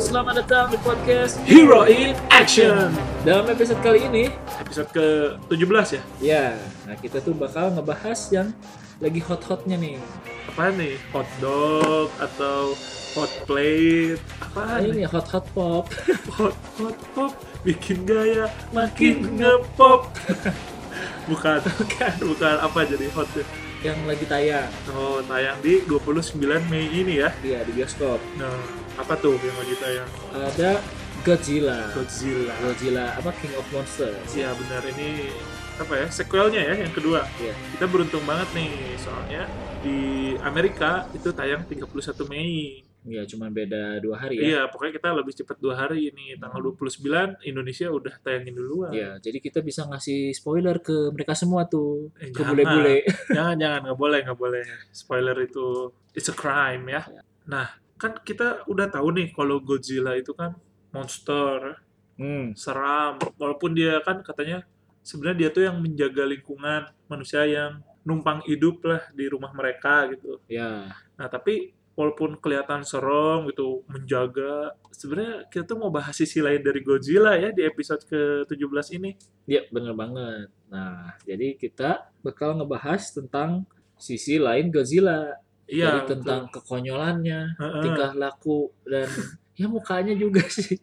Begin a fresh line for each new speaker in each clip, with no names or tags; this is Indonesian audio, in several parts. selamat datang di podcast Hero in Action. Dalam episode kali ini,
episode ke 17 ya
ya, nah kita tuh bakal ngebahas yang lagi hot-hotnya nih. Nah,
apa nih hot dog atau hot plate apa nih
Ini hot-hot pop.
hot hot pop bikin gaya makin ngepop bukan bukan bukan apa jadi hot ya
yang lagi tayang
oh tayang di 29 Mei ini ya
dia di bioskop.
nah apa tuh yang lagi tayang
Ada Godzilla.
Godzilla
Godzilla apa King of Monsters.
ya benar ini apa ya sequelnya ya yang kedua
Iya.
kita beruntung banget nih soalnya di Amerika itu tayang 31 Mei
Ya, cuman beda dua hari ya.
Iya, pokoknya kita lebih cepat dua hari ini. Tanggal 29, Indonesia udah tayangin duluan.
Ya, jadi kita bisa ngasih spoiler ke mereka semua tuh,
Eh,
ke
jangan.
bule-bule.
Jangan, jangan. Nggak boleh, nggak boleh. Spoiler itu, it's a crime ya. Nah, kan kita udah tahu nih kalau Godzilla itu kan monster,
Hmm.
seram. Walaupun dia kan katanya, sebenarnya dia tuh yang menjaga lingkungan manusia yang numpang hidup lah di rumah mereka gitu.
Ya,
Nah, tapi walaupun kelihatan serem gitu, menjaga, sebenarnya kita tuh mau bahas sisi lain dari Godzilla ya di episode ke-17 ini.
ya bener banget. Nah, jadi kita bakal ngebahas tentang sisi lain Godzilla.
Iya, Ah.
jadi tentang kekonyolannya,
betul. Heeh.
tingkah laku, dan ya mukanya juga sih.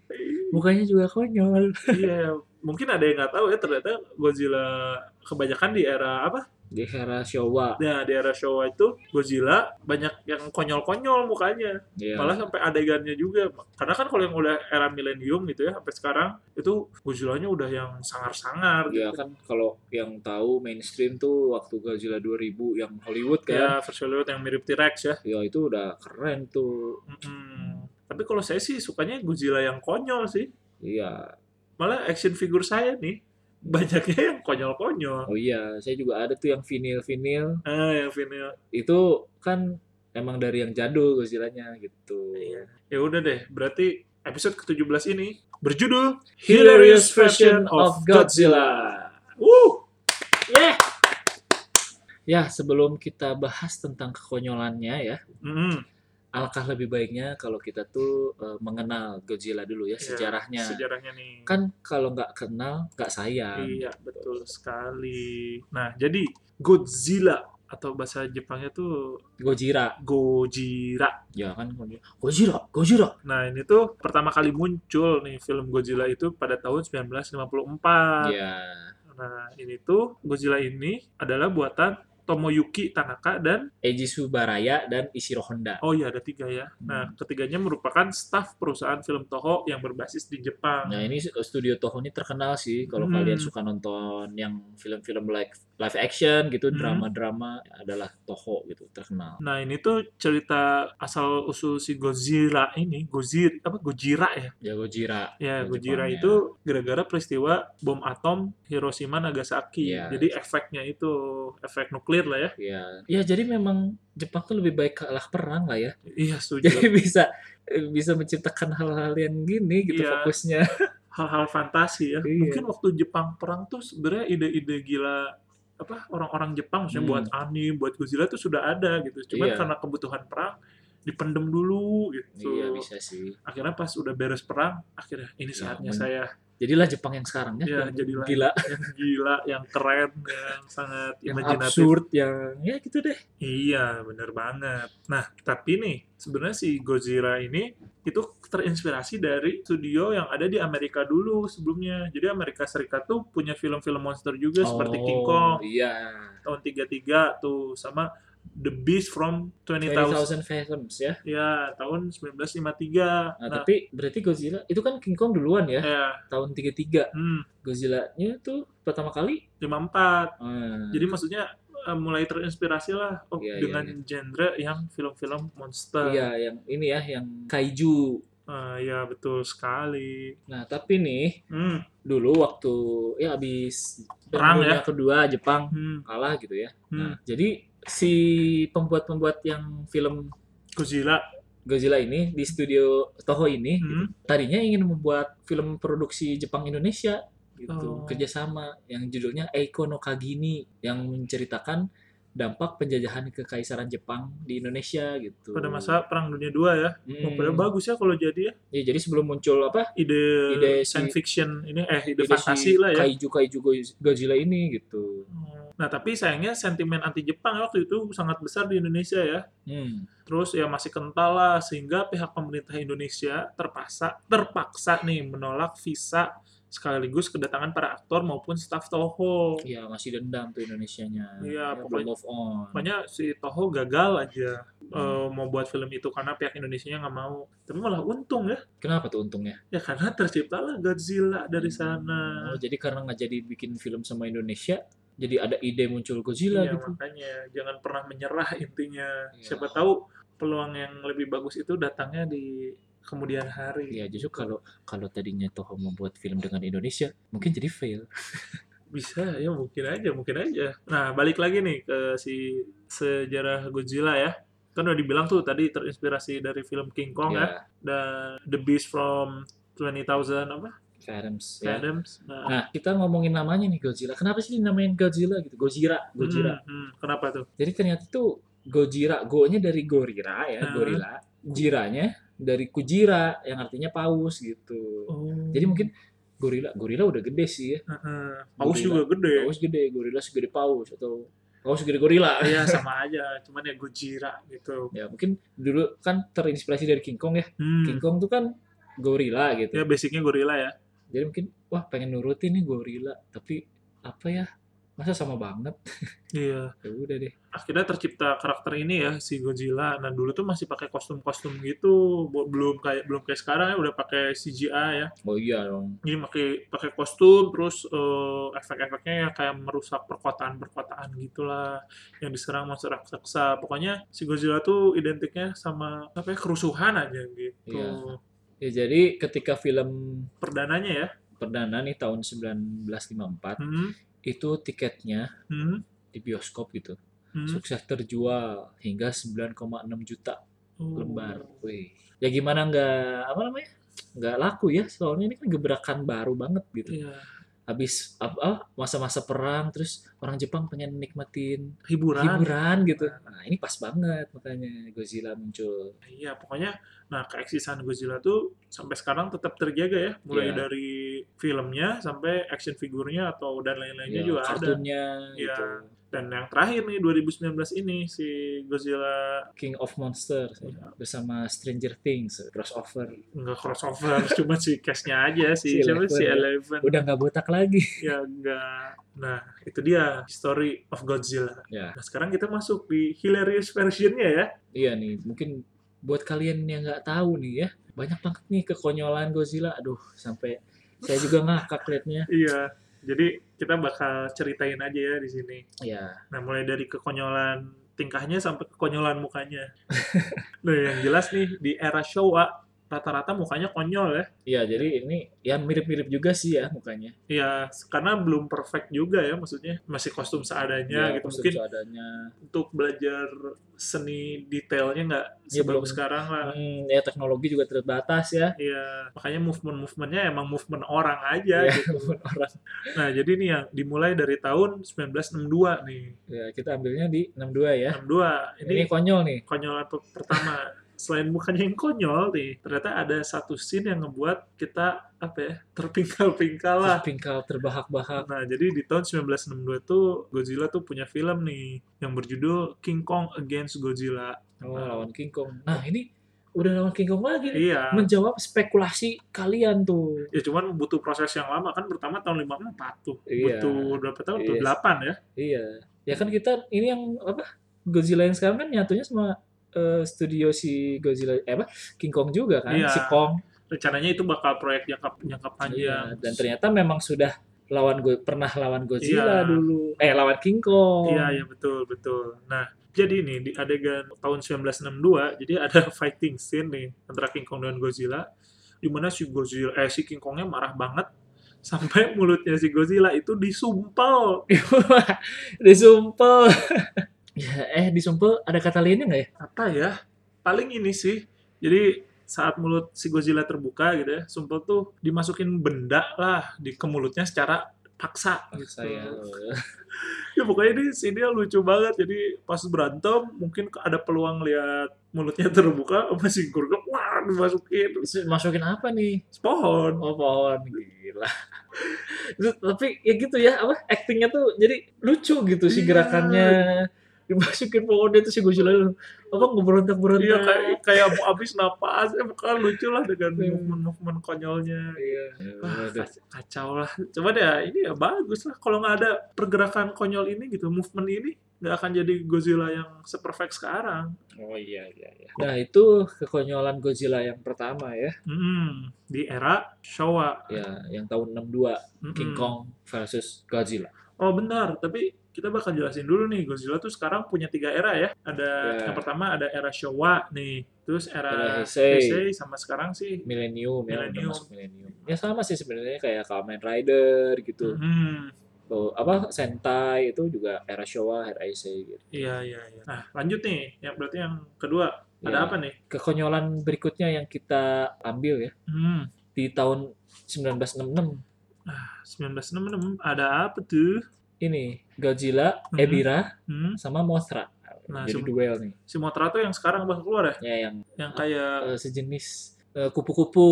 Mukanya juga konyol.
Iya, mungkin ada yang nggak tahu ya ternyata Godzilla kebanyakan di era apa?
Di era Showa.
Nah, di era Showa itu Godzilla banyak yang konyol-konyol mukanya.
Ya.
Malah sampai adegannya juga. Karena kan kalau yang udah era milenium gitu ya sampai sekarang itu Godzilla-nya udah yang sangar-sangar gitu.
Ya kan kalau yang tahu mainstream tuh waktu Godzilla 2000 yang Hollywood kan.
Ya, versi Hollywood yang mirip T-Rex ya.
Ya itu udah keren tuh.
Mm-mm. Tapi kalau saya sih sukanya Godzilla yang konyol sih.
Iya.
Malah action figure saya nih banyaknya yang konyol-konyol.
Oh iya, saya juga ada tuh yang vinil-vinil.
Ah, yang vinyl.
Itu kan emang dari yang jadul Godzilla-nya gitu.
Iya. Ya udah deh, berarti episode ke-17 ini berjudul
Hilarious version of Godzilla.
Wuh.
Yeah. Ya, sebelum kita bahas tentang kekonyolannya ya,
Mm-mm.
alangkah lebih baiknya kalau kita tuh eh, mengenal Godzilla dulu ya
Ya,
sejarahnya.
Sejarahnya nih.
Kan kalau nggak kenal nggak sayang.
Iya, betul sekali. Nah, jadi Godzilla atau bahasa Jepangnya tuh
Gojira,
Gojira.
ya kan Gojira, Gojira.
Nah, ini tuh pertama kali muncul nih film Godzilla itu pada tahun 1954.
Ya,
Nah, ini tuh Godzilla ini adalah buatan Tomoyuki Tanaka dan
Eiji Subaraya dan Ishiro Honda.
oh iya ada tiga ya.
Hmm.
Nah, ketiganya merupakan staf perusahaan film Toho yang berbasis di Jepang.
Nah, ini studio Toho ini terkenal sih kalau
Hmm.
kalian suka nonton yang film-film live live action gitu,
Hmm.
drama-drama adalah Toho gitu, terkenal.
Nah, ini tuh cerita asal usul si Godzilla ini, Gozir apa Gojira ya?
Ya Gojira.
Ya,
Di
Gojira
Jepangnya.
itu gara-gara peristiwa bom atom Hiroshima Nagasaki.
Iya.
Jadi efeknya itu efek nuklir lah ya.
Ya, ya jadi memang Jepang tuh lebih baik kalah perang lah ya.
Iya, setuju.
Jadi bisa bisa menciptakan hal-hal yang gini gitu
Iya.
fokusnya.
hal-hal fantasi ya.
Iya.
Mungkin waktu Jepang perang tuh sebenarnya ide-ide gila apa orang-orang Jepang maksudnya
Hmm.
buat anime, buat Godzilla tuh sudah ada gitu. Cuman
Iya.
karena kebutuhan perang dipendem dulu gitu.
Iya bisa sih.
Akhirnya pas udah beres perang, akhirnya ini
Iya,
saatnya
men-
saya
Jadilah Jepang yang sekarang ya.
Iya,
yang
jadilah.
gila,
yang gila, yang keren, yang sangat
yang
imajinatif.
absurd, yang ya gitu deh.
Iya, bener banget. Nah, tapi nih sebenarnya si Godzilla ini itu terinspirasi dari studio yang ada di Amerika dulu sebelumnya. Jadi Amerika Serikat tuh punya film-film monster juga seperti King Kong
Iya.
tahun 33 tuh sama The Beast from 20,000
20,000 Fathoms ya.
ya tahun 1953.
Nah,
Nah,
tapi berarti Godzilla itu kan King Kong duluan ya,
ya,
tahun 33.
hmm,
Godzilla-nya tuh pertama kali
54.
hmm,
Jadi maksudnya eh, mulai terinspirasi lah oh,
Iya, iya,
dengan genre yang film-film monster.
iya yang ini ya yang kaiju.
Eh, ya betul sekali.
Nah, tapi nih
Hmm.
dulu waktu ya abis
Perang
Perang kedua Jepang
hmm.
kalah gitu ya.
Hmm,
Nah, jadi si pembuat-pembuat yang film
Godzilla.
Godzilla ini di studio Toho ini
Hmm.
tadinya ingin membuat film produksi Jepang Indonesia
Oh.
gitu kerjasama yang judulnya Eiko no Kagini yang menceritakan dampak penjajahan kekaisaran Jepang di Indonesia gitu.
Pada masa Perang Dunia II ya.
Hmm.
Oh, padahal bagus ya kalau jadi ya.
Ya, jadi sebelum muncul apa?
Ide,
Ide si-
science fiction ini, eh ide,
ide
fantasi
si
lah ya.
Kaiju Kaiju Go- Godzilla ini gitu.
Nah tapi sayangnya sentimen anti Jepang ya waktu itu sangat besar di Indonesia ya.
Hmm.
Terus ya masih kental lah sehingga pihak pemerintah Indonesia terpaksa terpaksa nih menolak visa sekaligus kedatangan para aktor maupun staf Toho.
Ya masih dendam tuh Indonesianya.
Iya,
ya, belum
pokoknya-
move on.
Makanya si Toho gagal aja eh, mau buat film itu karena pihak Indonesia nggak mau. Tapi malah untung ya,
Kenapa tuh untungnya?
ya karena terciptalah Godzilla dari sana.
Oh, jadi karena nggak jadi bikin film sama Indonesia, jadi ada ide muncul Godzilla
Iya,
gitu.
makanya jangan pernah menyerah intinya.
Iya.
Siapa tahu peluang yang lebih bagus itu datangnya di kemudian hari.
Iya, justru kalau kalau tadinya Toho membuat film dengan Indonesia, mungkin jadi fail.
Bisa ya mungkin aja, mungkin aja. Nah, balik lagi nih ke si sejarah Godzilla ya. Kan udah dibilang tuh tadi terinspirasi dari film King Kong ya
Iya,
dan The Beast from 20,000 apa?
Adams ya.
Adams. Nah,
Nah, kita ngomongin namanya nih Godzilla. Kenapa sih dinamain Godzilla gitu? Gojira, Gojira.
hmm, hmm, kenapa tuh?
Jadi ternyata tuh Gojira, go-nya dari gorira ya,
Hmm.
gorila. Jiranya dari kujira yang artinya paus gitu. Jadi mungkin gorila, gorila udah gede sih ya.
Heeh. Paus
Gorilla.
juga gede.
Paus gede, gorila segede paus atau paus segede gorila.
Iya, sama aja, cuman ya Gojira gitu.
Ya, mungkin dulu kan terinspirasi dari King Kong ya.
Hmm.
King Kong tuh kan gorila gitu.
Ya basicnya gorila ya.
Jadi mungkin wah pengen nurutin nih gorila, tapi apa ya? Masa sama banget?
Iya.
Ya udah deh.
akhirnya tercipta karakter ini ya si Godzilla. Nah dulu tuh masih pakai kostum-kostum gitu, Bu- belum kayak belum kayak sekarang ya udah pakai CGI ya.
Oh iya dong.
Jadi pakai pakai kostum, terus eh, efek-efeknya ya kayak merusak perkotaan-perkotaan gitulah yang diserang monster raksasa. Pokoknya si Godzilla tuh identiknya sama apa ya kerusuhan aja gitu.
Iya. Ya jadi ketika film
Perdananya ya.
perdana nih tahun 1954
Hmm,
itu tiketnya
hmm,
di bioskop gitu
hmm.
sukses terjual hingga 9,6 juta
Oh.
lembar. Wih. Ya gimana nggak apa namanya? nggak laku ya soalnya ini kan gebrakan baru banget gitu.
Iya.
Habis ap- apa, masa-masa perang terus orang Jepang pengen nikmatin
Hiburan.
hiburan gitu. Nah, ini pas banget makanya Godzilla muncul.
Iya, pokoknya nah keeksisan Godzilla tuh sampai sekarang tetap terjaga ya, mulai
Iya.
dari filmnya sampai action figurnya atau dan lain-lainnya
Ya,
juga ada.
kartunnya
Iya.
gitu.
Dan yang terakhir nih 2019 ini si Godzilla
King of Monsters
Iya.
ya, bersama Stranger Things crossover.
enggak crossover, cuma si case-nya aja si
Si
siapa
Eleven
si
ya.
Eleven
Udah nggak botak lagi.
ya enggak. Nah, itu dia story of Godzilla.
Ya.
Nah, sekarang kita masuk di hilarious versionnya ya.
Iya nih, mungkin buat kalian yang nggak tahu nih ya, banyak banget nih kekonyolan Godzilla. Aduh, sampai saya juga ngakak liatnya.
Iya. Jadi kita bakal ceritain aja ya di sini.
Ya,
Nah, mulai dari kekonyolan tingkahnya sampai kekonyolan mukanya. nah, yang jelas nih, di era Showa, rata-rata mukanya konyol ya.
ya jadi ini ya mirip-mirip juga sih ya mukanya.
Ya, karena belum perfect juga ya, maksudnya. Masih kostum seadanya
Ya,
gitu.
kostum
Mungkin
seadanya.
untuk belajar seni detailnya nggak
Iya,
sebelum
belum.
sekarang lah.
Hmm, ya teknologi juga terbatas ya.
Iya, makanya movement-movementnya emang movement orang aja
Iya,
gitu.
Orang.
Nah, jadi nih yang dimulai dari tahun 1962 nih.
Ya, kita ambilnya di 62 ya.
62, ini
Ini konyol nih.
konyolan pe- pertama selain mukanya yang konyol nih ternyata ada satu scene yang ngebuat kita apa ya terpingkal-pingkal lah
Pingkal terbahak-bahak.
nah jadi di tahun 1962 tuh Godzilla tuh punya film nih yang berjudul King Kong Against Godzilla
Oh,
Nah.
lawan King Kong. Nah, ini udah lawan King Kong lagi. nih.
iya
Menjawab spekulasi kalian tuh.
ya cuman butuh proses yang lama kan pertama tahun 54 tuh
Iya.
butuh berapa tahun tuh
Iya.
8 ya
Iya. Ya kan kita ini yang apa Godzilla yang sekarang kan nyatunya sama eh, studio si Godzilla eh apa King Kong juga kan
Iya.
si Kong.
rencananya itu bakal proyek jangka jangka panjang
Iya. Dan ternyata memang sudah lawan Go- pernah lawan
Iya.
Godzilla dulu. Eh lawan King Kong.
Iya, iya betul, betul. Nah, jadi nih di adegan tahun 1962, jadi ada fighting scene nih antara King Kong dan Godzilla, di mana si Godzilla eh si King Kongnya marah banget sampai mulutnya si Godzilla itu disumpal.
disumpel. ya, eh disumpel ada kata lainnya nggak ya?
Apa ya? Paling ini sih. Jadi saat mulut si Godzilla terbuka gitu ya, sumpel tuh dimasukin benda lah di ke mulutnya secara paksa,
Paksa
gitu.
ya.
Ya pokoknya di sini lucu banget. Jadi pas berantem mungkin ada peluang lihat mulutnya terbuka sama si Gurgel, wah dimasukin
Terus Masukin apa nih?
pohon.
Oh pohon gila. Itu- Tapi ya gitu ya, apa actingnya tuh jadi lucu gitu sih
Iya.
gerakannya. Dimasukin pohonnya tuh si Godzilla lu. Apa ngeberontak berontak.
Iya kayak kayak mau habis napas, eh bukan lucu lah dengan movement-movement konyolnya.
Iya.
gitu. Wah, kac- kacau lah. Cuman ya ini ya bagus lah. Kalau nggak ada pergerakan konyol ini gitu, movement ini nggak akan jadi Godzilla yang seperfect sekarang.
Oh iya iya iya. Nah itu kekonyolan Godzilla yang pertama ya.
Mm-mm. Di era Showa.
Ya yang tahun 62
Mm-mm.
King Kong versus Godzilla.
Oh benar, tapi kita bakal jelasin dulu nih Godzilla tuh sekarang punya tiga era ya. Ada
Ya.
yang pertama ada era Showa nih, terus era,
Era Heisei.
Heisei sama sekarang sih.
Millennium ya udah
Millennium.
masuk millennium. Ya sama sih sebenarnya kayak Kamen Rider gitu.
Hmm. Mm-mm.
Tuh, apa Sentai itu juga era Showa, era Heisei gitu.
Iya iya iya. Nah lanjut nih, yang berarti yang kedua ada
Ya.
apa nih?
kekonyolan berikutnya yang kita ambil ya
Hmm.
di tahun 1966
1966 ada apa tuh?
ini Godzilla,
Mhm.
Ebira
Hmm.
sama Mothra.
Nah,
Jadi
sem-
duel nih
Si Mothra tuh yang sekarang bakal keluar ya?
ya yang
Yang kayak
eh, sejenis eh, kupu-kupu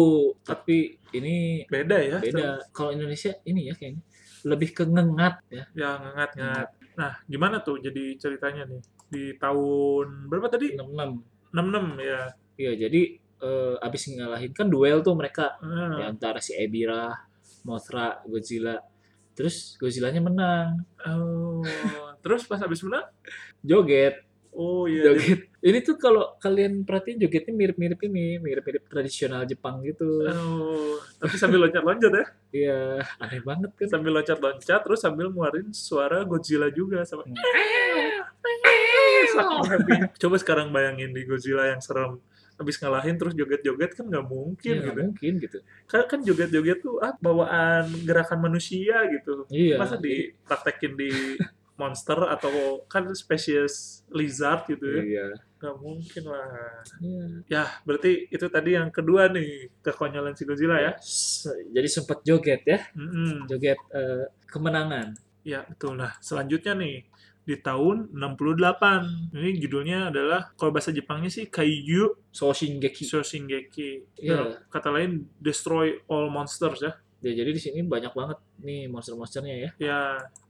tapi ini
beda ya?
beda. Kalau Indonesia ini ya kayaknya lebih ke ngengat ya.
Ya ngengat-ngengat. Nah, gimana tuh jadi ceritanya nih? Di tahun berapa tadi?
66.
66 ya.
Iya, jadi eh, abis ngalahin kan duel tuh mereka
Hmm.
di antara si Ebira, Mothra, Godzilla. Terus Godzillanya menang,
Oh, terus pas habis menang?
joget.
Oh iya. dia-
joget. Ini tuh kalau kalian perhatiin jogetnya mirip-mirip ini, mirip-mirip tradisional Jepang gitu.
Oh, tapi sambil loncat-loncat ya.
Iya, aneh banget kan.
Sambil loncat-loncat terus sambil ngeluarin suara Godzilla juga sama.
Hmm.
Coba sekarang bayangin di Godzilla yang serem habis ngalahin terus joget-joget kan nggak mungkin
Iya,
gitu.
mungkin gitu.
Kan kan joget-joget tuh ah, bawaan gerakan manusia gitu.
Iya.
Masa dipraktekin di monster atau kan spesies lizard gitu ya.
Iya.
Nggak mungkin lah.
Iya.
Ya, berarti itu tadi yang kedua nih kekonyolan si Godzilla ya.
S- Iya. Jadi sempat joget ya,
Mm-mm.
joget eh, kemenangan.
Ya, betul. Nah, selanjutnya nih di tahun 68. Ini judulnya adalah kalau bahasa Jepangnya sih Kaiju
Soshingeki.
Shosingeki.
Iya.
Dalam Kata lain destroy all monsters ya.
Ya, jadi di sini banyak banget nih monster-monsternya ya.
Ya,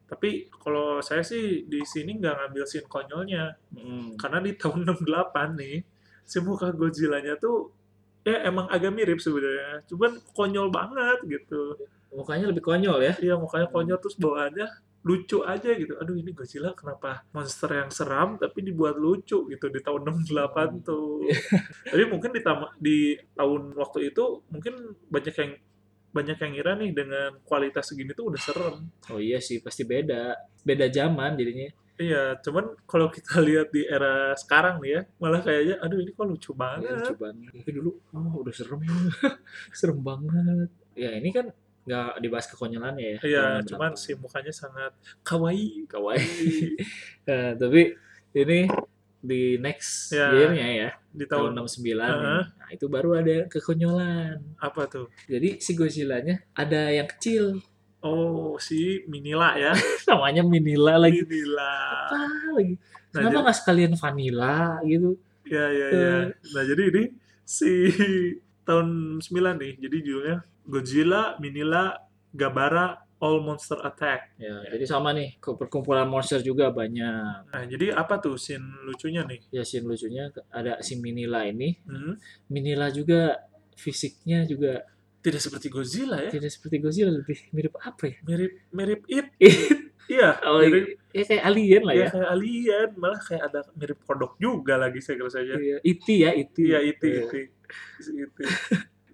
tapi kalau saya sih di sini nggak ngambil scene konyolnya
Mm.
karena di tahun 68 nih si muka Godzilla-nya tuh ya emang agak mirip sebenarnya. Cuman konyol banget gitu.
Mukanya lebih konyol ya.
Iya mukanya konyol terus bawaannya lucu aja gitu. Aduh ini Godzilla kenapa monster yang seram tapi dibuat lucu gitu di tahun
Hmm.
68 tuh.
Iya.
tapi mungkin di, tama- di tahun waktu itu mungkin banyak yang banyak yang ngira nih dengan kualitas segini tuh udah serem.
Oh iya sih, pasti beda. Beda zaman jadinya.
Iya, cuman kalau kita lihat di era sekarang nih ya, malah kayaknya aduh ini kok lucu
Ya,
banget.
lucu banget. Tapi dulu oh, udah serem serem banget. Ya ini kan nggak dibahas kekonyolannya ya.
Iya,
Tahun
cuman
berapa.
si mukanya sangat kawaii.
kawaii. Eh, tapi ini di next
Ya,
year-nya ya,
Di
tahun
tahun
69.
Heeh.
Nah, itu baru ada kekonyolan.
apa tuh?
Jadi si Godzilla-nya ada yang kecil,
Oh, si Minila ya.
namanya Minila lagi.
Minila.
Apa lagi?
Nah,
Kenapa
jadi-
nggak sekalian Vanilla gitu?
Ya, ya,
Eh.
ya. Nah, jadi ini si tahun 9 nih. Jadi judulnya Godzilla, Minila, Gabara, All Monster Attack.
Ya, jadi sama nih, ke- perkumpulan monster juga banyak.
Nah, jadi apa tuh scene lucunya nih?
Ya, scene lucunya ada si Minila ini.
Hmm?
Minila juga fisiknya juga
Tidak seperti Godzilla ya.
tidak seperti Godzilla lebih mirip apa ya?
Mirip mirip It.
It.
Iya,
Oh,
mirip
ya kayak alien lah
ya,
ya.
kayak alien, malah kayak ada mirip kodok juga lagi saya kira saja.
Iya, Iti ya, Iti.
Iya, itu
Iya.
itu. Itu.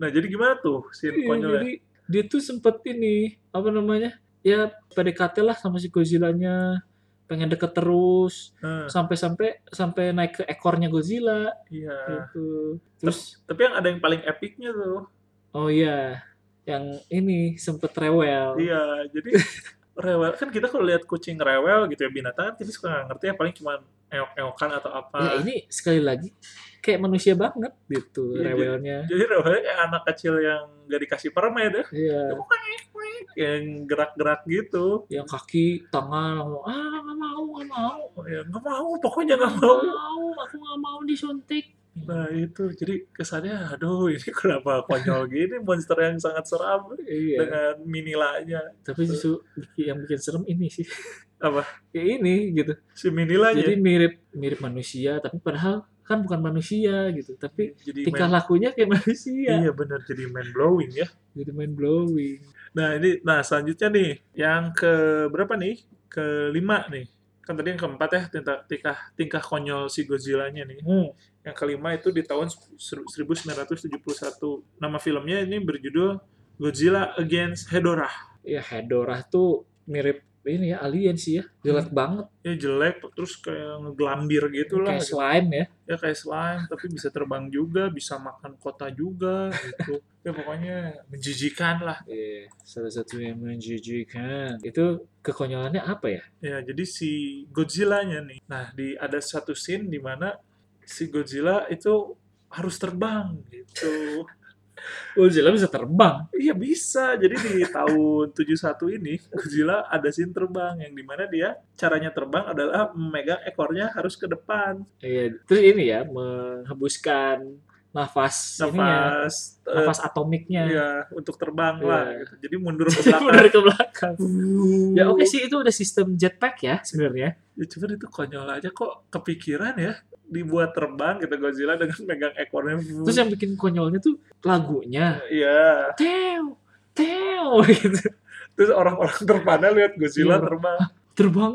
Nah, jadi gimana tuh scene
Iya,
konyolnya?
jadi dia tuh sempet ini apa namanya? Ya PDKT lah sama si Godzilla-nya pengen deket terus
Nah,
sampai-sampai sampai naik ke ekornya Godzilla
iya.
gitu. Terus
Tapi yang ada yang paling epicnya tuh
oh iya yang ini sempet rewel.
Iya, jadi rewel kan kita kalau lihat kucing rewel gitu ya binatang kan kita suka nggak ngerti ya paling cuma eok-eokan atau apa.
Ya ini sekali lagi kayak manusia banget
Iya,
gitu
jadi-
rewelnya.
Jadi rewelnya kayak anak kecil yang nggak dikasih permen ya.
Iya.
Weng, weng, yang gerak-gerak gitu.
yang kaki tangan langsung, ah nggak mau nggak mau
Oh, ya nggak mau, pokoknya nggak
nggak
mau.
mau aku nggak mau disuntik
Nah itu, jadi kesannya, aduh ini kenapa konyol gini monster yang sangat seram
iya
dengan minilanya.
tapi justru yang bikin serem ini sih
Apa?
ya ini gitu
Si minilanya.
jadi mirip mirip manusia tapi padahal kan bukan manusia gitu tapi
jadi
tingkah ya.
main-
lakunya kayak manusia
Iya benar jadi mind blowing ya.
jadi main blowing
Nah ini, nah selanjutnya nih yang ke berapa nih? Kelima nih. Kan tadi yang keempat ya tingkah tingkah, tingkah konyol si Godzilla-nya nih. Yang kelima itu di tahun 1971. Nama filmnya ini berjudul Godzilla Against Hedorah.
ya Hedorah tuh mirip ini ya alien sih ya jelek banget
Ya jelek terus kayak ngeglambir gitu lah.
kayak slime ya
Ya kayak slime tapi bisa terbang juga, bisa makan kota juga gitu. Ya pokoknya menjijikan lah.
Iya, salah satunya yang menjijikan itu kekonyolannya apa ya
Ya, jadi si Godzilla-nya nih. Nah, di ada satu scene di mana si Godzilla itu harus terbang gitu.
Godzilla Oh, bisa terbang
Iya bisa. Jadi di tahun 71 ini Godzilla ada scene terbang yang di mana dia caranya terbang adalah memegang ekornya harus ke depan.
iya terus ini ya menghembuskan nafas ininya,
Nafas eh,
nafas atomiknya
iya, untuk terbang lah
Iya.
gitu. Jadi mundur ke belakang.
dari ke belakang ya
sih.
oke sih itu udah sistem jetpack ya sebenarnya
Ya, cuman itu konyol aja kok kepikiran ya dibuat terbang gitu Godzilla dengan megang ekornya.
terus yang bikin konyolnya tuh lagunya
Iya.
teo teo gitu
terus orang-orang terpana lihat Godzilla
Iya, bro.
terbang
terbang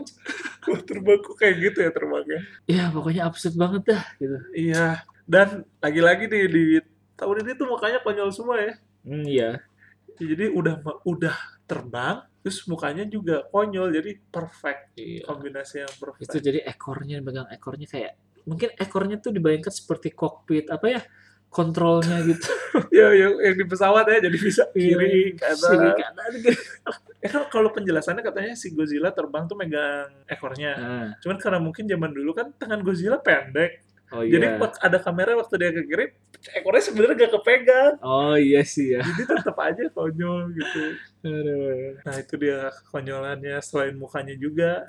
Wah, terbang kok kayak gitu ya terbangnya
ya pokoknya absurd banget dah gitu
iya dan lagi-lagi nih di tahun ini tuh mukanya konyol semua ya
hmm, iya
jadi udah udah terbang terus mukanya juga konyol jadi perfect
Iya.
kombinasi yang perfect
itu jadi ekornya pegang ekornya kayak mungkin ekornya tuh dibayangkan seperti kokpit apa ya kontrolnya gitu
ya yang, yang di pesawat ya jadi bisa kiri ke atas
Kiri, kanan, gitu.
ya kan kalau penjelasannya katanya si Godzilla terbang tuh megang ekornya
Nah,
cuman karena mungkin zaman dulu kan tangan Godzilla pendek
oh iya
jadi wak- ada kamera waktu dia ke kiri ekornya sebenarnya gak kepegang
oh iya sih ya
jadi tetap aja konyol gitu
Aduh.
nah itu dia konyolannya selain mukanya juga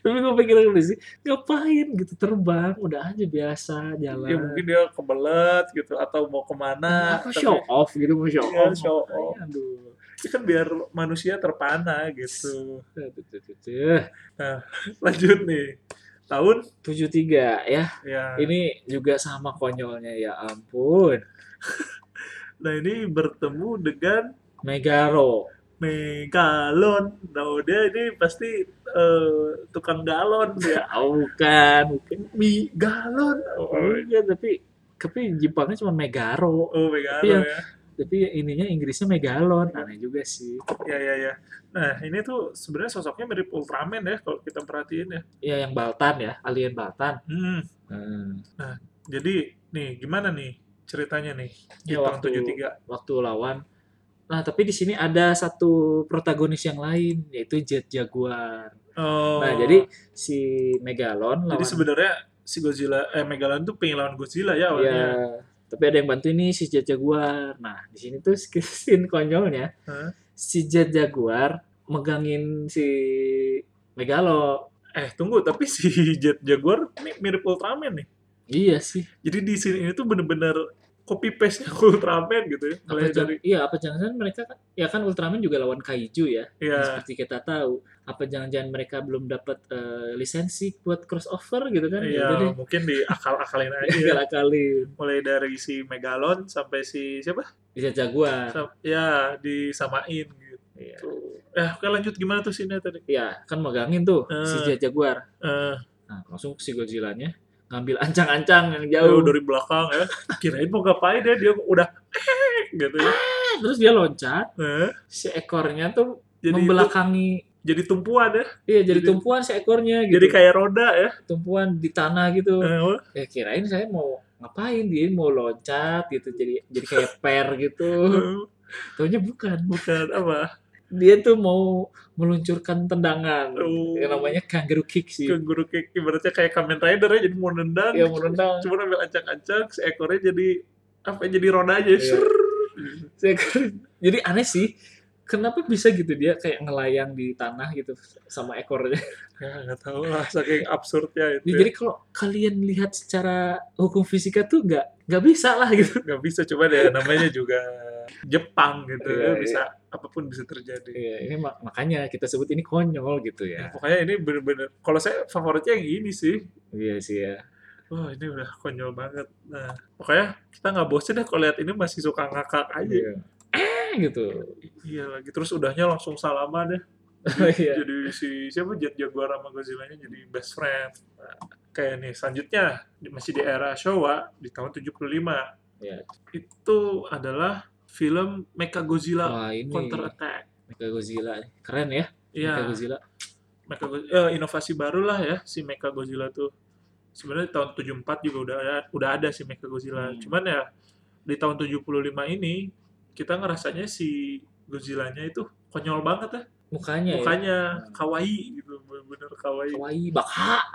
tapi gue pikir dulu sih ngapain gitu terbang udah aja biasa jalan
ya mungkin dia kebelet gitu atau mau kemana
aku
tapi-
show off gitu mau show
Iya,
off
show
makanya.
off.
aduh
Itu kan biar manusia terpana gitu
Aduh, tuh, tuh, tuh.
lanjut nih tahun
73 ya
ya
ini juga sama konyolnya ya ampun
nah ini bertemu dengan
Megaro
megalon nah dia ini pasti eh, tukang galon ya
oh, bukan bukan
mie galon oh,
Iya, tapi tapi Jepangnya cuma Megaro.
oh megalon ya
Tapi ininya Inggrisnya Megalon. Aneh juga sih.
ya ya ya nah ini tuh sebenarnya sosoknya mirip Ultraman ya kalau kita perhatiin ya
Ya yang Baltan ya, alien Baltan.
hmm.
Hmm.
Jadi nih gimana nih ceritanya nih di
Ya,
tahun 73
waktu- Waktu lawan. Nah, tapi di sini ada satu protagonis yang lain yaitu Jet Jaguar.
Oh.
Nah, jadi si Megalon
jadi
lawan
sebenarnya si Godzilla eh Megalon tuh pengen lawan Godzilla ya
ya,
awalnya.
tapi ada yang bantu nih si Jet Jaguar. Nah, di sini tuh scene konyolnya.
Hah?
Si Jet Jaguar megangin si Megalo.
Eh tunggu tapi si Jet Jaguar ini mirip Ultraman nih.
Iya sih.
Jadi di sini ini tuh bener-bener copy paste nya Ultraman gitu ya.
apa
Mulai
jangan,
dari
iya apa jangan-jangan mereka kan ya kan Ultraman juga lawan kaiju ya
ya
seperti kita tahu apa jangan-jangan mereka belum dapat eh, lisensi buat crossover gitu kan
ya,
udah deh
mungkin diakal-akalin aja.
galak kali
Mulai dari si Megalon sampai si siapa?
bisa jaguar
Sam- ya disamain gitu.
Iya.
Eh oke lanjut gimana tuh sini tadi?
ya kan megangin tuh si
Eh.
Jack jaguar
Eh,
nah langsung si Godzilla-nya ngambil ancang-ancang yang
jauh
jauh
Iya, dari belakang ya. Kirain mau ngapain ya dia udah gitu ya.
terus dia loncat
Nah,
si ekornya tuh
jadi itu-
membelakangi
jadi tumpuan ya.
iya jadi,
jadi-
tumpuan si ekornya gitu
Jadi kayak roda ya.
tumpuan di tanah gitu
Eh, wah,
ya kirain saya mau ngapain dia mau loncat gitu jadi jadi kayak per gitu
eh,
taunya bukan
bukan apa?
dia tuh mau meluncurkan tendangan
Oh.
yang namanya kangaroo kick sih
Kenguru kick ibaratnya kayak Kamen Rider ya jadi mau nendang.
ya Iya. mau nendang
Cuma ambil acak-acak seekornya jadi apa jadi roda aja.
Iya.
Ser.
Saya- jadi aneh sih kenapa bisa gitu dia kayak ngelayang di tanah gitu sama ekornya.
Ya, nggak tahu lah saking absurdnya itu. ya.
Jadi kalau kalian lihat secara hukum fisika tuh nggak nggak bisa lah gitu.
nggak bisa coba deh namanya juga Jepang gitu
Iya,
ya, bisa apapun bisa terjadi.
Iya, ini mak- makanya kita sebut ini konyol gitu
Ya,
ya.
pokoknya ini bener-bener kalau saya favoritnya yang ini sih.
Iya sih ya.
Wah ini udah konyol banget. Nah, pokoknya kita nggak bosen deh kalau lihat ini masih suka ngakak aja.
Iya. Eh gitu.
Iya lagi terus udahnya langsung salaman deh.
Iya.
Jadi si siapa Jet Jaguar sama Godzilla-nya jadi best friend. Nah, kayak nih selanjutnya di- masih di era Showa di tahun 75.
Iya.
Itu adalah film Mechagodzilla
Wah, Oh, ini
Counter Attack.
Mechagodzilla. Keren ya
Iya,
Mechagodzilla.
Mechago- eh, inovasi baru lah ya si Mechagodzilla tuh. Sebenarnya tahun 74 juga udah ada, udah ada si Mechagodzilla.
Hmm.
Cuman ya di tahun 75 ini kita ngerasanya si Godzilla-nya itu konyol banget ya.
Mukanya, ya.
Mukanya
Iya, Hmm.
kawaii gitu, bener-bener kawaii.
Kawaii baka.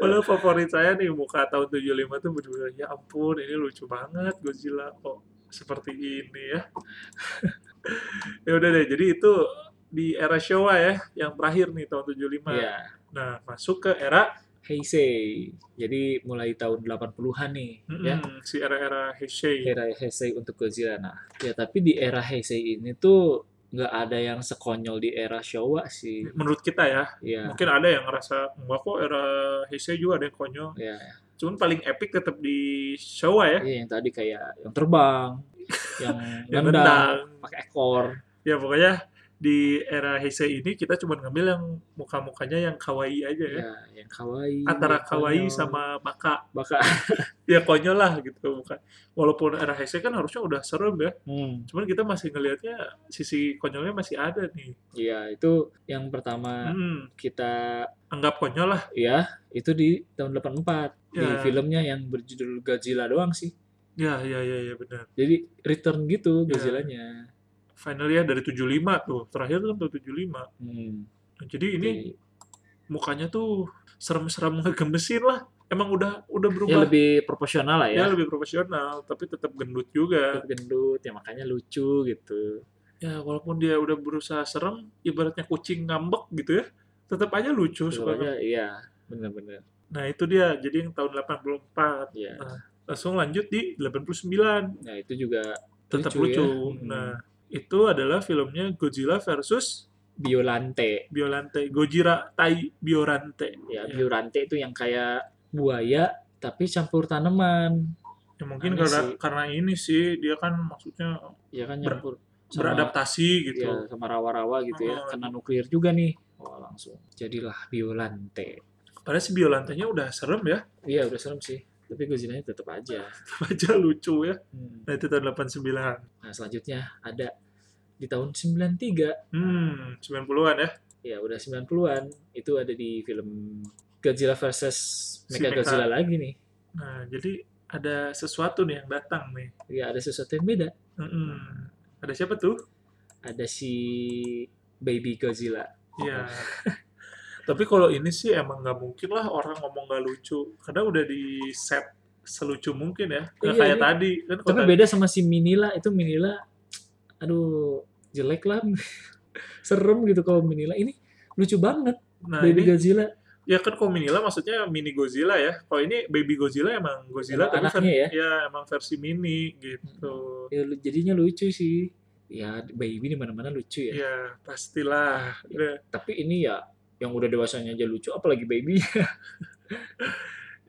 Walau favorit saya nih muka tahun 75 tuh bener-bener ya ampun ini lucu banget Godzilla kok seperti ini ya. ya udah deh, jadi itu di era Showa ya, yang terakhir nih tahun 75.
Iya.
Nah, masuk ke era
Heisei. Jadi mulai tahun 80-an nih ya.
mm, si era-era Heisei.
Era Heisei untuk Godzilla. Nah, ya tapi di era Heisei ini tuh nggak ada yang sekonyol di era Showa sih.
Menurut kita ya,
Iya.
mungkin ada yang ngerasa enggak kok era Heisei juga ada yang konyol.
Iya,
Cuman paling epic tetap di Showa ya,
iya, yang tadi kayak yang terbang, yang
yang
nendang,
tendang.
pakai ekor.
Ya pokoknya di era Heisei ini kita cuma ngambil yang muka-mukanya yang kawaii aja ya.
Iya, yang kawaii.
Antara
yang
kawaii
konyol.
sama maka
baka.
ya konyol lah gitu bukan. Walaupun era Heisei kan harusnya udah serem ya.
Hmm.
Cuman kita masih ngelihatnya sisi konyolnya masih ada nih.
Iya, itu yang pertama
Hmm,
kita
anggap konyol lah.
ya, itu di tahun 84 di
Ya.
filmnya yang berjudul Godzilla doang sih.
Ya, ya, ya, ya benar.
Jadi return gitu
Ya.
Godzilla-nya.
final ya dari 75 tuh. Terakhir kan tuh 75.
Hmm. Ya,
Nah, jadi ini
Jadi-
mukanya tuh serem-serem ngegemesin lah. Emang udah udah
ya
berubah.
lebih proporsional lah
Ya,
ya.
lebih profesional, tapi tetap gendut juga.
Lebih gendut, ya makanya lucu gitu.
Ya, walaupun dia udah berusaha serem, ibaratnya kucing ngambek gitu ya. Tetap aja lucu
Terus
suka.
aja, iya, bener-bener.
Nah, itu dia. Jadi yang tahun 84.
Iya.
Langsung lanjut di 89.
Nah itu juga
Tetap lucu.
Lucu ya. Hmm.
Nah, itu adalah filmnya Godzilla versus
Biolante.
Biolante. Gojira Tai Biorante.
Ya,
Ya.
Biolante itu yang kayak buaya tapi campur tanaman.
Ya mungkin
Aneh
karena
Nah, sih.
karena ini sih dia kan maksudnya
Ya kan
Ber-
nyampur
beradaptasi gitu.
ya, sama rawa-rawa gitu ya.
Oh.
Karena nuklir juga nih. Wah, langsung. Jadilah Biolante.
Padahal si biolantanya udah serem ya,
Iya, udah serem sih. Tapi Godzilla-nya tetap aja.
tetap aja lucu ya.
Hmm.
Nah itu tahun 89.
Nah, selanjutnya ada di tahun 93
Hmm, 90-an ya.
ya udah 90-an itu ada di film Godzilla versus
Si
Mega Godzilla lagi nih.
Nah jadi ada sesuatu nih yang datang nih.
Ya ada sesuatu yang beda.
Mm-mm. Ada siapa tuh?
Ada si Baby Godzilla.
Ya. Tapi kalau ini sih emang nggak mungkin lah orang ngomong nggak lucu, karena udah di set selucu mungkin ya. Nggak
Iya,
kayak
iya.
tadi kan. kalau
Tapi
tadi-
beda sama si Minila, itu Minila aduh jelek lah. Serem gitu kalau Minila. Ini lucu banget
Nah
Baby
ini
Godzilla.
ya kan kalau Minila maksudnya mini Godzilla ya. Kalau ini baby Godzilla emang Godzilla
Emang
tapi
anaknya ya.
Ya emang versi mini gitu.
Ya, lu- jadinya lucu sih. Ya Baby di mana-mana lucu ya.
Ya pastilah. Udah.
Tapi ini ya yang udah dewasanya aja lucu apalagi baby.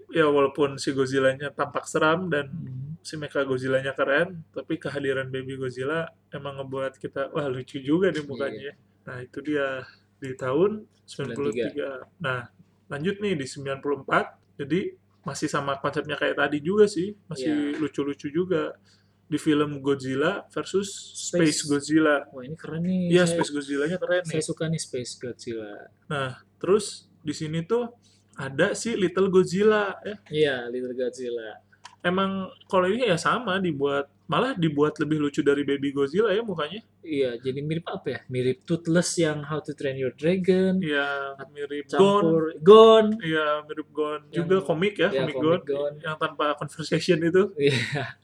Ya walaupun si Godzilla-nya tampak seram dan si Mecha Godzilla-nya keren, tapi kehadiran Baby Godzilla emang ngebuat kita wah lucu juga nih mukanya. Nah itu dia di tahun 93. Nah lanjut nih di 94. Jadi masih sama konsepnya kayak tadi juga sih, masih lucu-lucu juga di film Godzilla versus Space,
Space.
Godzilla.
Wah, ini keren nih.
Iya,
saya,
Space Godzilla-nya keren nih.
saya suka nih Space Godzilla.
Terus di sini tuh ada si Little Godzilla ya.
Iya, Little Godzilla.
Emang kalau ini ya sama dibuat malah dibuat lebih lucu dari Baby Godzilla ya mukanya.
Iya, jadi mirip apa ya? Mirip Toothless yang How to Train Your Dragon,
Ya mirip Gon.
campur Gon.
Ya mirip Gon
Yang-
juga komik ya,
ya,
komik,
komik Gon.
Gon. Yang tanpa conversation itu.
Iya,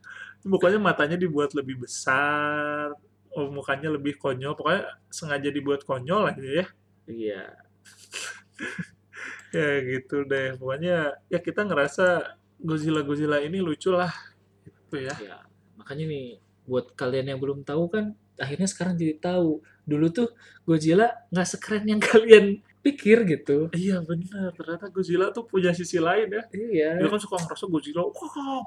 Mukanya matanya dibuat lebih besar. oh, mukanya lebih konyol pokoknya sengaja dibuat konyol lah gitu ya
Iya.
ya gitu deh pokoknya ya kita ngerasa Godzilla Godzilla ini lucu lah gitu ya
Ya, makanya nih buat kalian yang belum tahu kan akhirnya sekarang jadi tahu. Dulu tuh Godzilla nggak sekeren yang kalian pikir gitu.
iya bener ternyata Godzilla tuh punya sisi lain ya dia
Iya.
kan suka ngerasa Godzilla wah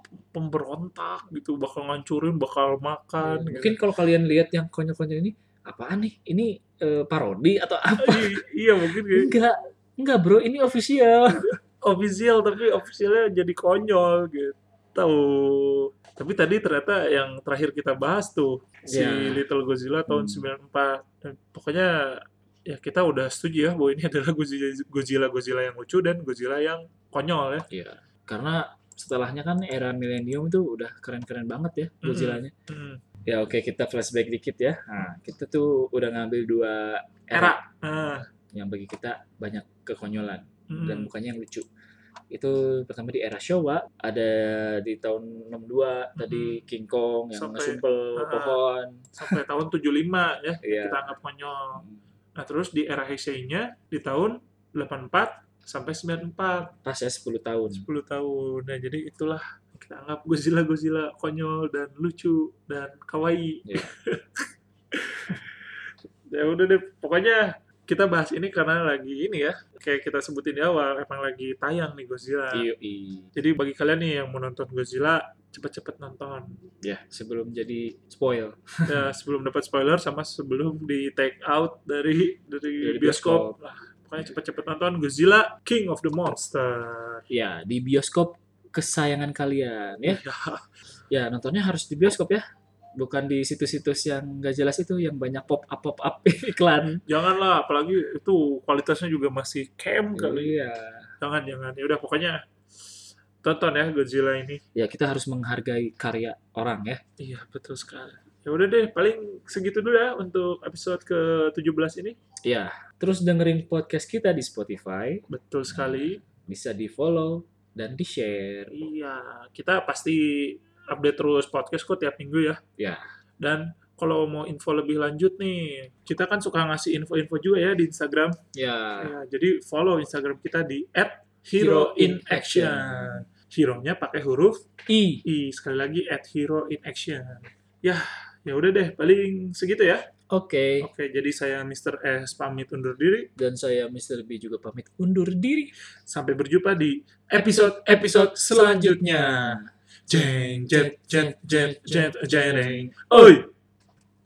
pemberontak gitu bakal ngancurin bakal makan
Iya,
gitu.
Mungkin kalau kalian lihat yang konyol-konyol ini apaan nih? Ini eh, parodi atau apa?
gitu. Iya, iya mungkin ya.
Enggak. Enggak, Bro. Ini official.
official tapi officialnya jadi konyol gitu tapi tadi ternyata yang terakhir kita bahas tuh si
Ya.
Little Godzilla tahun
Hmm.
94 Dan pokoknya ya kita udah setuju ya bahwa ini adalah Godzilla Godzilla Godzilla yang lucu dan Godzilla yang konyol ya
Iya. Karena setelahnya kan era milenium itu udah keren-keren banget ya Godzilla-nya.
Hmm.
Ya oke, kita flashback dikit ya. Nah, kita tuh udah ngambil dua
era
era
Ah.
yang bagi kita banyak kekonyolan
Hmm.
dan bukannya yang lucu. Itu pertama di era Showa ada di tahun 62 tadi King Kong yang
Sampai-
ngesumpel
Ah.
pohon.
sampai tahun 75 ya kita
Iya.
anggap konyol nah terus di era Heisei-nya di tahun 84 sampai 94
Pas ya 10 tahun.
10 tahun. Nah, jadi itulah kita anggap Godzilla-Godzilla konyol dan lucu dan kawaii.
Iya.
ya udah deh, pokoknya kita bahas ini karena lagi ini ya, kayak kita sebutin di awal, emang lagi tayang nih Godzilla.
Iya. Yoi.
Jadi bagi kalian nih yang mau nonton Godzilla, cepet-cepet nonton.
Ya, sebelum jadi spoil
Ya, sebelum dapat spoiler sama sebelum di take out dari dari,
Dari
bioskop. Nah, pokoknya cepet-cepet nonton Godzilla King of the Monster.
ya di bioskop kesayangan kalian ya.
Ya.
Ya, nontonnya harus di bioskop ya. Bukan di situs-situs yang gak jelas itu yang banyak pop up pop up iklan.
Janganlah, apalagi itu kualitasnya juga masih cam kali.
Iya.
Jangan, jangan. Ya udah pokoknya tonton ya Godzilla ini.
Ya, kita harus menghargai karya orang ya.
Iya, betul sekali. Ya udah deh, paling segitu dulu ya untuk episode ke-17 ini.
Ya, terus dengerin podcast kita di Spotify,
Betul sekali.
bisa di-follow dan di-share.
Iya, kita pasti update terus podcast kok tiap minggu ya.
Ya.
Dan kalau mau info lebih lanjut nih, kita kan suka ngasih info-info juga ya di Instagram.
Ya,
Ya, jadi follow Instagram kita di @heroinaction. Hero-nya pakai huruf
I.
I sekali lagi at Hero in Action. Yah, ya udah deh paling segitu ya.
Oke,
Oke, jadi saya Mr. S pamit undur diri.
dan saya Mr. B juga pamit undur diri.
Sampai berjumpa di episode-episode selanjutnya. Jeng jet jet jet jet jeng. Oi.